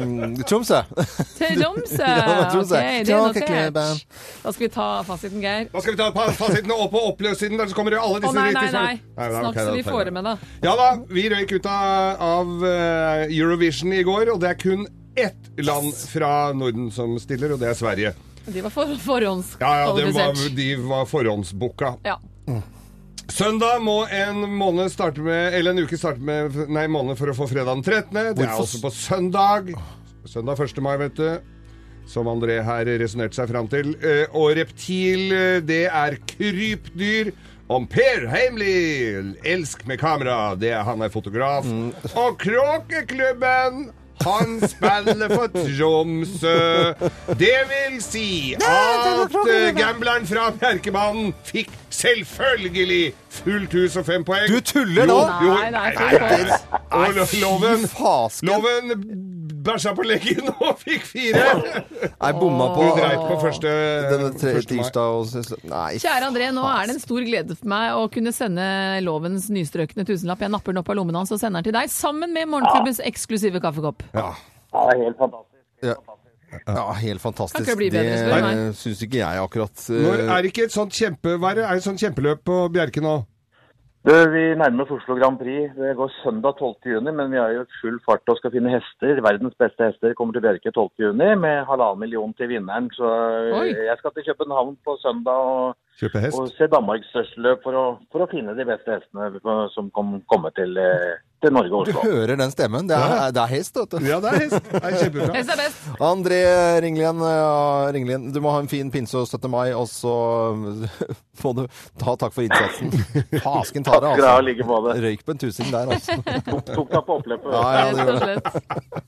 Tromsø.
Tromsø!
Ja, Tromsø.
eh, Ok, det er
Kråkeklubben.
notert. Da skal vi ta fasiten, Geir.
Da skal vi ta pa- fasiten opp og oppløs siden, der så kommer jo
Å
alle disse
nei, nei,
riktige
nei.
svarene. da,
Snakk
ok, da
så vi
tar
får det
jeg
med,
det.
da.
Ja da, vi røyk ut av, av eh, Eurovision i går, og det er kun ett land fra Norden som stiller, og det er Sverige.
De var for
Ja, ja, det var,
forhåndskvalifisert.
de var forhåndsbooka. Mm.
Ja.
Søndag må en måned starte med Eller en uke starte med Nei, måned for å få fredag den 13. Det er
Hvorfor-
også på søndag. Søndag 1. mai, vet du. Som André her resonnerte seg fram til. Eh, Og reptil, eh, det er krypdyr. Om Per Heimly, elsk med kamera, det er han er fotograf.
Mm.
Og Kråkeklubben, han spiller for Tromsø. Det vil si at eh, gambleren fra Bjerkebanen fikk selvfølgelig fullt hus og fem poeng.
Du tuller
Jo,
nå?
Jo,
Nei, nei,
nei,
fy
nei, nei.
faen.
Og lo- loven,
Fy fasken.
loven bæsja på leggen og fikk fire.
Nei, bomma på
Du dreit på første,
Denne tre,
første mai.
tirsdag og s- Nei.
Kjære André, nå er det en stor glede for meg å kunne sende lovens nystrøkne tusenlapp. Jeg napper den opp av lommen hans og sender den til deg, sammen med morgenklubbens eksklusive kaffekopp.
Ja.
Ja, det er helt fantastisk.
Ja. ja, helt fantastisk.
Kan ikke bli bedre, spør du
det syns ikke jeg akkurat. eh,
Når er det ikke et sånt kjempe, hva er det, er det et sånt kjempeløp på Bjerke nå?
Du, Vi nærmer oss Oslo Grand Prix. Det går søndag 12. juni, men vi er jo i full fart og skal finne hester. Verdens beste hester kommer til Bjerke 12. juni med halvannen million til vinneren. Så
Oi.
jeg skal til København på søndag og,
Kjøpe hest?
og se Danmarks største løp for å, for å finne de beste hestene på- som kom, kommer til, eh, til Norge og
Du
Oslo.
hører den stemmen. Det er, det er hest, vet du.
Ja, det er hest. Det er kjempebra.
Hest er best.
André Ringlien, ja, Ringlien, du må ha en fin pinse og 17. mai, og så må du ta takk for innsatsen. Fasken ta det,
Takk
altså.
skal du ha, like måte.
Røyk på en tusing der, altså.
Tok deg på oppløpet.
Ja, ja, det gjorde det.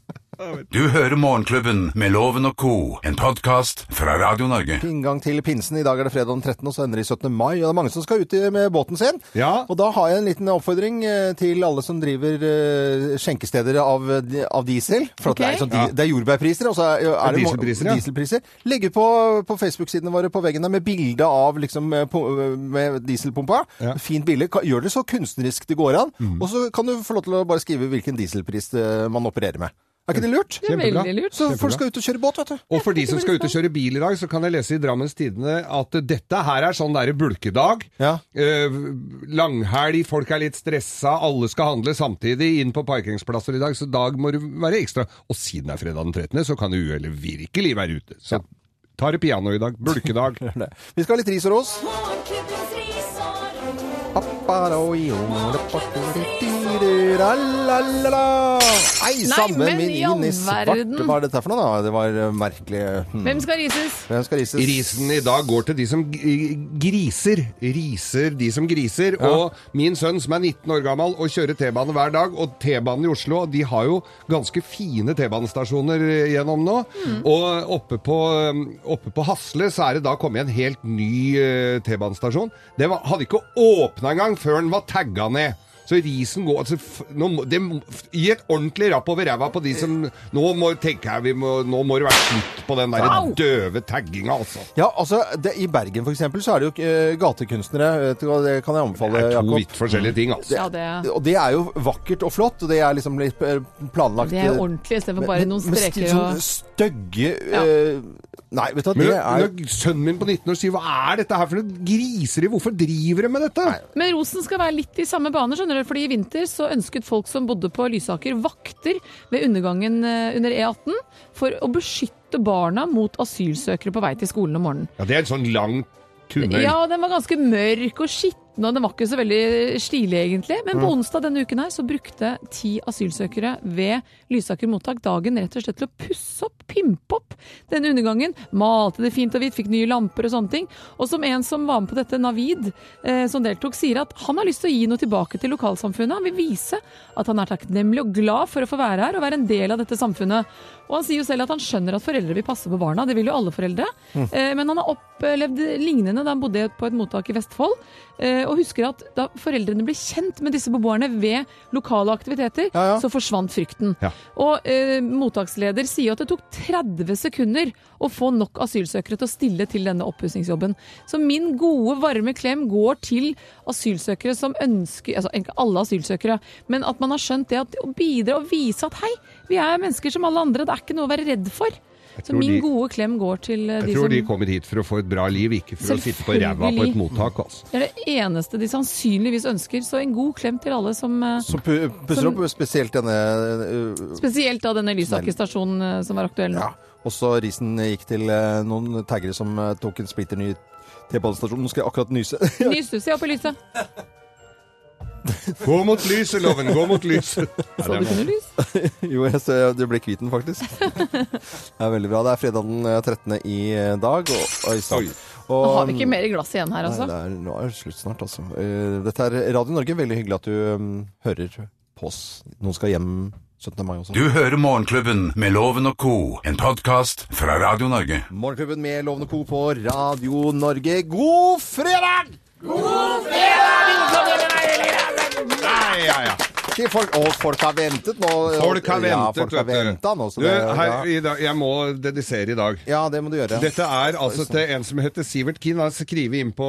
Du hører Morgenklubben med Loven og co., en podkast fra Radio Norge.
Inngang til pinsen. I dag er det fredag den 13., og så ender det i 17. mai. Og det er mange som skal ut i- med båten sin.
Ja.
Og da har jeg en liten oppfordring eh, til alle som driver eh, skjenkesteder av, av diesel. For at det,
Ok.
er, sånn, di- det er jordbærpriser, og så er, er det mo-
Dieselpriser, ja.
dieselpriser. Legg ut på, på Facebook-sidene våre på veggen der med bilde av liksom, eh, på- med dieselpumpa. Fint bilde. Ka- Gjør det så kunstnerisk det går an.
Mhm.
Og så kan du få lov til å bare skrive hvilken dieselpris eh, man opererer med. Er ikke det lurt?
Det er veldig Kjempebra. lurt.
Så
Kjempebra.
folk skal ut og kjøre båt, vet du.
Og for de som skal ut og kjøre bil i dag, så kan jeg lese i Drammens Tidende at dette her er sånn derre bulkedag. Eh, langhelg, folk er litt stressa, alle skal handle samtidig inn på parkeringsplasser i dag, så dag må du være ekstra. Og siden det er fredag den 13., så kan uhellet virkelig være ute. Så tar det piano i dag. Bulkedag.
Vi skal ha litt ris og ros.
Morgenklubbens ris og ros.
Ei, sammen
men
min
i all
inn i svart.
verden.
Hva er dette for noe, da? Det var eh, merkelig hmm.
Hvem skal rises?
Hvem skal rises?
Risen i dag går til de som g- griser. Riser de som griser. Og min sønn som er 19 år gammel og kjører T-bane hver dag, og T-banen i Oslo, de har jo ganske fine T-banestasjoner eh, gjennom nå. Og oppe på, um, oppe på Hasle så er det da kommet en helt ny eh, T-banestasjon. Det var, hadde ikke åpna engang før den var tagga ned. Så risen går altså, f- nå, må- det, må- f- Gi et ordentlig rapp over ræva på de som Nå må, tenker jeg, vi må, nå må det være slutt på den der
Au!
døve tagginga, altså.
Ja, altså, det, I Bergen for eksempel, så er det jo eh, gatekunstnere. Vet du hva, det kan jeg anbefale,
Det er to
Jakob.
vidt forskjellige ting, altså.
Ja, det-
Og det er jo vakkert og flott, og det er liksom litt eh, planlagt.
Det er
eh,
jo ordentlig, istedenfor
men-
bare
men-
noen
men
streker
sånn
og
Stygge
Ja.
eh, Nei, vet du hva,
Men
det
når,
er
når sønnen min på 19 år sier 'hva er dette her for noe griseri', hvorfor driver de med dette?
Men rosen skal være litt i samme bane, skjønner du. Fordi i vinter så ønsket folk som bodde på Lysaker vakter ved undergangen eh, under E18 for å beskytte barna mot asylsøkere på vei til skolen om morgenen.
Ja, Det er en sånn lang tunnel.
Ja, den var ganske mørk og skitten, og den var ikke så veldig stilig egentlig. Men på
Mm.
onsdag denne uken her så brukte ti asylsøkere ved Lysaker mottak dagen rett og slett til å pusse opp, pimpe opp denne undergangen. Malte det fint og hvitt, fikk nye lamper og sånne ting. Og som en som var med på dette, Navid, eh, som deltok, sier at han har lyst til å gi noe tilbake til lokalsamfunnet. Han vil vise at han er takknemlig og glad for å få være her og være en del av dette samfunnet. Og han sier jo selv at han skjønner at foreldre vil passe på barna, det vil jo alle foreldre.
Mm.
Eh, Men han har opplevd lignende da han bodde på et mottak i Vestfold, eh, og husker at da foreldrene ble kjent med disse beboerne ved lokale aktiviteter, så forsvant frykten. Og eh, mottaksleder sier at det tok 30 sekunder å få nok asylsøkere til å stille til denne oppussingsjobben. Så min gode, varme klem går til asylsøkere som ønsker Altså ikke alle asylsøkere, men at man har skjønt det at å bidra og vise at hei, vi er mennesker som alle andre, det er ikke noe å være redd for. Så
tror
min
de-
gode klem går til eh,
Jeg
de
tror
som
de kommer hit for å få et bra liv, ikke for å sitte på ræva på
Selvfølgelig.
et mottak. altså.
Det er det eneste de sannsynligvis ønsker, så en god klem til alle som eh,
Som pu- pusser
som-
opp spesielt denne eh,
Spesielt da denne Lysaker stasjon eh, som var aktuell nå.
Også risen gikk til eh, noen taggere som eh, tok en splitter ny T-banestasjon. Nå skal jeg akkurat nyse.
Ny stuss i opp i lyset.
Gå mot lyset, Loven! Gå mot lyset!
Så du ikke noe lys?
jo, jeg ser, du ble kvitt den faktisk. Det er veldig bra. Det er fredag den eh, 13. i eh, dag. Og, oi, sann.
Nå
Og-
har vi ikke mer i glasset igjen her, altså.
Nei, det er, nå er det slutt snart, altså. Eh, Dette er Radio Norge. Veldig hyggelig at du mm, hører på oss. Noen skal hjem 17. mai også.
Du hører Morgenklubben med Loven og co., en podkast fra Radio Norge.
Morgenklubben med Lovende Co på Radio Norge. God fredag! God fredag!
Ja, ja.
Til folk, og folk har ventet nå.
Folk har
Ja,
ventet,
folk har
vet
ventet nå. så
du. du
det-
her,
ja.
i dag, jeg må dedisere i dag.
Ja, det må du gjøre.
Dette er altså til en som heter Sivert Kien. Han har skrevet inn på,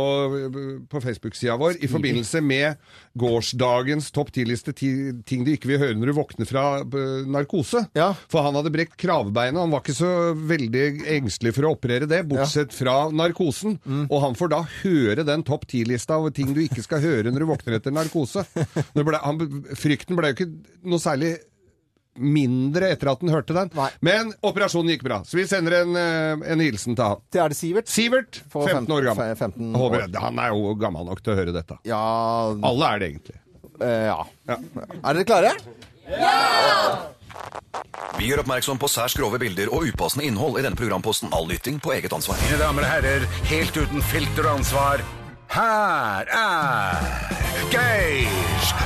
på Facebook-sida vår i forbindelse med gårsdagens topp 10-liste ti- ting du ikke vil høre når du våkner fra eh, narkose. For han hadde brekt kravbeinet. Han var ikke så veldig engstelig for å operere det, bortsett fra narkosen. Og han får da høre den topp 10-lista over ting du ikke skal høre når du våkner etter narkose. Når det Ble, han, frykten ble jo ikke noe særlig mindre etter at den hørte den. Men operasjonen gikk bra, så vi sender en, eh, en hilsen til han.
Det er det Sivert.
Sivert,
For
15 år gammel.
fe- 15
Håper
år.
jeg- Han er jo gammel nok til å høre dette.
Ja eh,
Alle er det egentlig.
ja. Er dere klare?
Vi gjør oppmerksom på særs grove bilder og upassende innhold i denne programposten. All lytting på eget ansvar.
Mine damer og herrer, helt uten filter og ansvar, her er Geir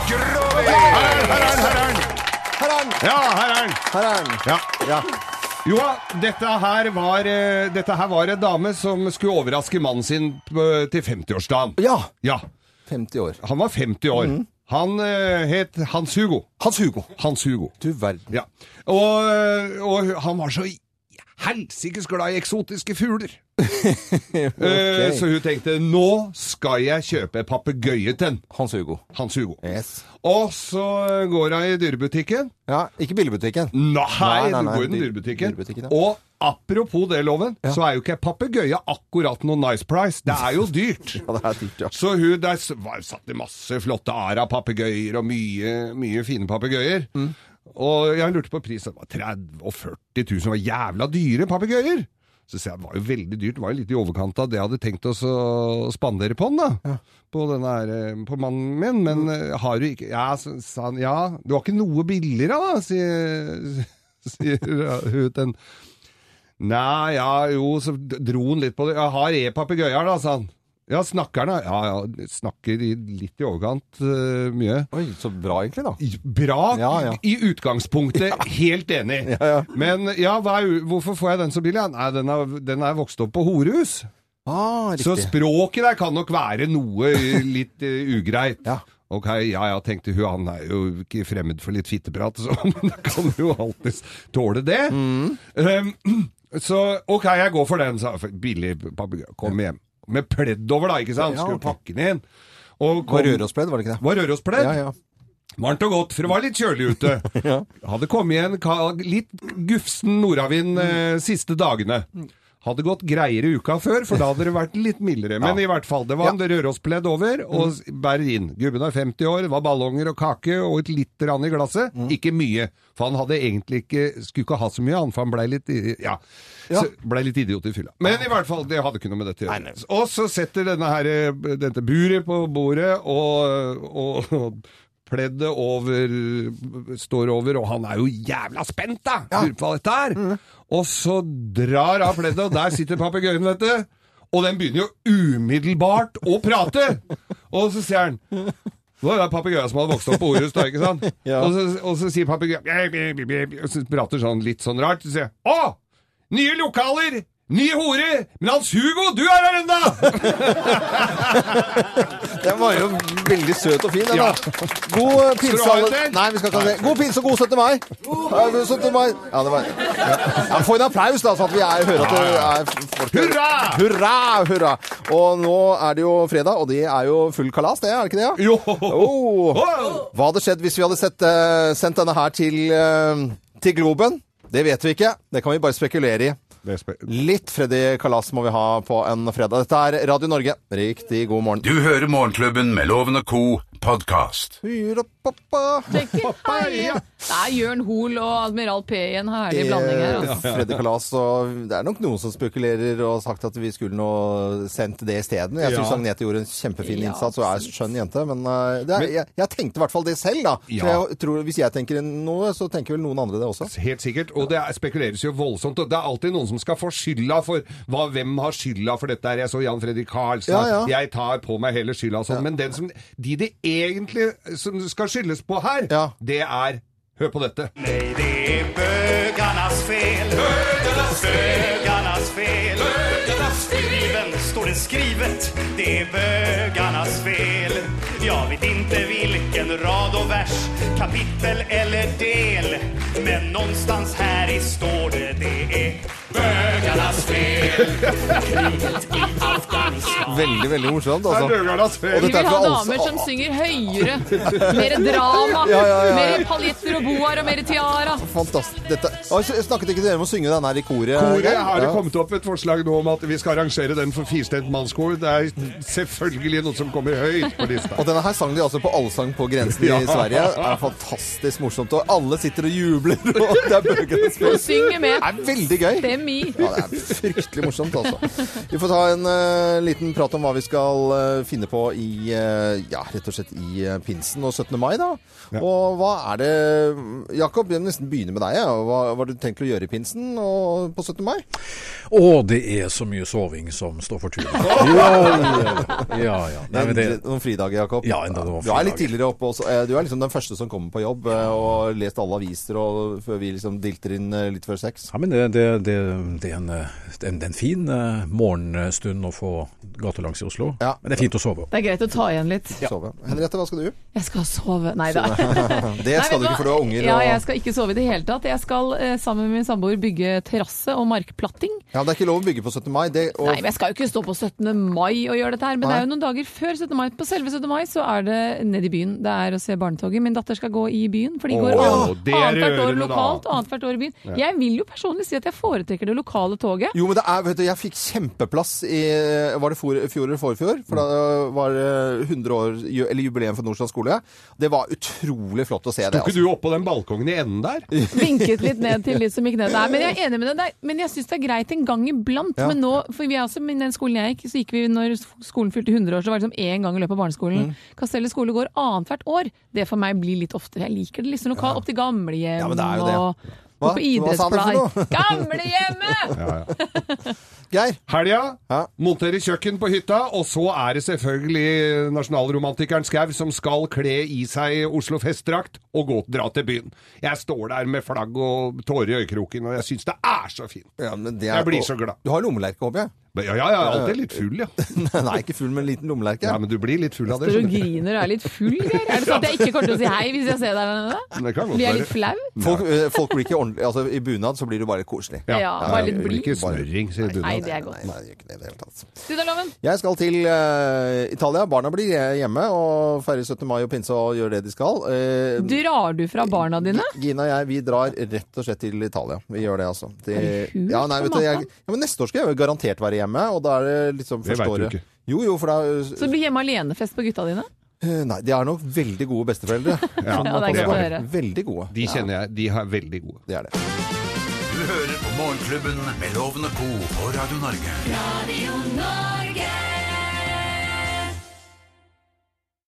Grovis!
Her er han!
Ja, her er han!
Her er han.
Ja.
ja.
Jo da, dette her var eh, Dette her var en dame som skulle overraske mannen sin på- til 50-årsdagen.
Ja.
50 år. Han var 50 år. Han eh, het Hans Hugo.
Mhm. Hans Hugo.
Hans Hugo.
Du verden.
Ja. Og, eh, og han var så helsikes glad i eksotiske fugler. Eh, Så hun tenkte nå skal jeg kjøpe papegøye til den.
Hans Hugo.
Hans Hugo. Og så går hun i dyrebutikken.
Ja, ikke billebutikken.
Nei,
Nei, nei,
du
nei,
går i den
dyr-
dyrebutikken.
dyrebutikken, ja.
Og apropos det, Loven, så er jo ikke papegøye akkurat noe nice price. Det er jo dyrt.
ja, det er dyrt, ja.
Så hun der s- var, satt det masse flotte ara-papegøyer og mye, mye fine papegøyer. Og jeg lurte på prisen. Det var 30 000 og 40 000. Det var jævla dyre papegøyer! Så sier jeg, det var jo veldig dyrt. Det var jo litt i overkant av det jeg hadde tenkt oss å spandere på den, da. På, denne her, eh, på mannen min. Men eh, har du ikke Ja, så, sa han. Ja, det var ikke noe billigere, da, sier, sier hun til en Nei, ja, jo, så d- dro han litt på det. Jeg har e-papegøyer, da, sa han. Ja, snakker han, da? Ja, ja, snakker i, litt i overkant eh, mye.
Oi, så bra egentlig,
da. Bra
ja.
i utgangspunktet, helt enig. Men ja, hva er, u- hvorfor får jeg den så billig? Ja, Nei, den er, den er vokst opp på horehus.
Ah,
så språket der kan nok være noe eh, litt eh, ugreit. Ok, ja ja, tenkte hun, han er jo ikke fremmed for litt fitteprat, så men da kan hun jo alltids tåle det.
Mm.
Um, så ok, jeg går for den, sa jeg. Billig papegøye. Kom hjem. Med pledd over, da, ikke sant?
Ja,
Skulle
ok.
pakke den inn. Og
Var Rørospledd, var det ikke det?
Var Rørospledd.
Ja, ja.
Varmt og godt, for det var litt kjølig ute. Hadde kommet igjen ka- litt gufsen nordavind eh, siste dagene. Hadde gått greiere uka før, for da hadde det vært litt mildere. Men i hvert fall, det var en Rørospledd over, og s- bærer inn. Gubben er 50 år, det var ballonger og kake og et lite grann i glasset. Ikke mye, for han hadde egentlig ikke, skulle ikke ha så mye, han, for han ble litt, i- ja,
Ja.
Så ble litt idiot i fylla. Men i hvert fall, det hadde ikke noe med dette å gjøre. Og så setter denne her, eh, dette buret på bordet, og, og, og pleddet over, står over, og han er jo jævla spent, da! Lurer på hva dette er. Og så drar av pleddet, og der sitter papegøyen, vet du. Og den begynner jo umiddelbart å prate! Og så sier han det var jo den papegøyen som hadde vokst opp på Orust, da, ikke sant?
Ja.
og, så, og så sier papegøyen «Bjæ, bjæ, bjæ, bjæ», Og så prater sånn litt sånn rart. Så sier jeg Å! Nye lokaler! Nye hore! Men Hans Hugo, du er her ennå!
Den var jo veldig søt og fin, den
Ja.
da. God eh, pinse
Skal du ha en
alle
til?
Nei, vi skal ikke ha det. God pinse og god 17. mai! Ja, god 17. mai. Ja, det var ja. Ja, Få en applaus, da, så at vi er, hører at det er folk
Hurra!
Hurra! Hurra! Og nå er det jo fredag, og det er jo full kalas, det, er det ikke det?
Jo!
Hva hadde skjedd hvis vi hadde sett, eh, sendt denne her til, eh, til Globen? Det vet vi ikke. Det kan vi bare spekulere i. Litt Freddy Kalas må vi ha på en fredag. Dette er Radio Norge. Riktig god morgen.
Du hører Morgenklubben med Loven og Co. podkast.
Det er Jørn Hoel og Admiral P i en herlig
Eh,
blanding her. Altså.
Freddy Kalas, og det er nok noen som spekulerer og har sagt at vi skulle nå sendt det isteden. Jeg syns
Ja.
Agnete gjorde en kjempefin
Ja,
innsats og er en skjønn jente, men eh, det er,
Men-
jeg, jeg tenkte i hvert fall det selv, da.
Ja.
For jeg tror, hvis jeg tenker noe, så tenker vel noen andre det også.
Helt sikkert. Og det er, spekuleres jo voldsomt. Og det er alltid noen som skal få skylda for hva, hvem har skylda for dette her. Jeg så Jan Fredrik Karlsen.
Ja, ja.
Jeg tar på meg hele skylda og sånn. Men den som, de det egentlig som skal skyldes på her, det er Hør på dette.
Nej, det är bögarnas fel. Bögarnas fel. Bögarnas fel. Bögarnas fel. Skriven, står det skrivet. Det är bögarnas fel. Jag vet inte vilken rad och vers, kapitel eller del. Men någonstans här i står det, det är bögarnas fel. Kriget i Afghanistan.
Veldig, veldig morsomt.
Det er
Altså.
Bøgernas ferie.
Og
Vi
dette er
vil ha
fra
damer som synger høyere. Mer drama.
Ja, ja, ja.
Mer paljetter og boar og mer tiara.
Fantastisk. Dette... Å, jeg Snakket ikke dere om å synge den her i koret?
Koret har det
Ja.
kommet opp et forslag nå om at vi skal arrangere den for firstemt mannskor. Det er selvfølgelig noe som kommer høyt på lista.
Og denne her sang de altså på Allsang på grensen
Ja.
i Sverige. Det er fantastisk morsomt. Og alle sitter og jubler, og det er bøkene som spiller.
Og synger med.
Det er veldig gøy.
Stem i.
Ja, det er fryktelig morsomt, altså. Vi får ta en eh, liten prat om hva vi skal eh, finne på i eh, ja, rett og slett i eh, pinsen og 17. mai, da. Og hva er det Jakob, jeg vil nesten begynne med deg. Ja. Hva, hva har du tenkt å gjøre i pinsen og på 17. mai?
Og det er så mye soving som står for tur. Ja, ja. ja. Nei, men det,
Noen fridager, Jakob?
ja, enda det var
Du er litt
fridager.
tidligere oppe også. Eh, Du er liksom den første som kommer på jobb eh, og har lest alle aviser og før vi liksom dilter inn eh, litt før seks.
Ja, men det, det, det, det, er en, eh, det, er en, det er en fin eh, morgenstund å få gatelangs i Oslo. Men det er fint å sove.
Det er greit å ta igjen litt.
Sove. Henriette, hva skal du?
Jeg skal sove. Nei da.
Det skal du ikke, for du har unger.
Ja,
og-
jeg skal ikke sove i det hele tatt. Jeg skal eh, sammen med min samboer bygge terrasse og markplatting.
Ja, men Det er ikke lov å bygge på 17. mai. Det, og...
Nei, men Jeg skal jo ikke stå på 17. mai og gjøre dette her, men det
Nei.
er jo noen dager før 17. mai. På selve 17. mai så er det ned i byen. Det er å se barnetoget. Min datter skal gå i byen, for de går
Åh,
an-
det er
annethvert år
rørende, da.
lokalt og annethvert år i byen.
Ja.
Jeg vil jo personlig si at jeg foretrekker det lokale toget.
Jo, men det er, vet du, jeg fikk kjempeplass i eh, Var det for, fjor eller forfjor? For da eh, var det 100 år, ju- eller jubileum for Nordstrand skole. Det var utrolig flott å se
Sto
det.
ikke du oppå den balkongen i enden der?
Vinket litt ned til de som gikk ned. Nei, men jeg er enig med deg. Det er- Men jeg syns det er greit en gang iblant.
Ja.
Men nå, for vi er også, men den skolen jeg gikk, så gikk vi når skolen fylte 100 år, så var det liksom én gang i løpet av barneskolen.
Mm.
Kastellet skole går annethvert år. Det for meg blir litt oftere. Jeg liker det litt sånn lokalt. Opp til gamlehjem
Ja, men det er jo det.
og
Hva?
og på
Hva sa han for noe?
idrettspleie. Gamlehjemmet!
Geir?
Helga. Montere kjøkken på hytta, og så er det selvfølgelig nasjonalromantikeren Skau som skal kle i seg Oslo festdrakt og gå dra til byen. Jeg står der med flagg og tårer i øyekroken, og jeg syns det er så fint.
Ja, men det er-
Jeg blir så glad.
Du har lommelerke, håper jeg?
Men ja, ja, jeg er alltid litt full, ja.
Nei, ikke full, men en liten lommelerke.
Ja, men du blir litt full av det.
Står og
skjønner du.
griner og er litt full, Geir? Er det sånn at jeg ikke kommer til å si hei hvis jeg ser deg der nede?
Det kan godt
Blir jeg
være.
litt flau?
Folk, eh, folk blir ikke ordentlig Altså, i bunad så blir du bare litt koselig.
Ja, Ja, bare litt
du blir
blid.
ikke bare-
Snørring, sier du.
Nei, det er godt.
Nei, det gjør ikke det i det hele tatt.
Studieloven?
Jeg skal til eh, Italia. Barna blir hjemme og feirer 17. mai og pinse og gjør det de skal. Eh,
Drar du fra barna dine?
Gina og jeg vi drar rett og slett til Italia. Vi gjør det, altså. Til,
Er du hul
ja, nei,
på
vet du, jeg,
matta?
ja, men neste år skal jeg jo garantert være hjemme, og da er det liksom
Det
første
vet du
året.
ikke.
Jo, jo, for da
Så det blir hjemme alene-fest på gutta dine?
Eh, Nei, de er nok veldig gode besteforeldre.
Ja,
Ja,
det er godt å høre.
Veldig gode.
De kjenner jeg. De er veldig gode.
Det er det.
Du hører på Morgenklubben med Loven og Co. på Radio Norge.
Radio Norge.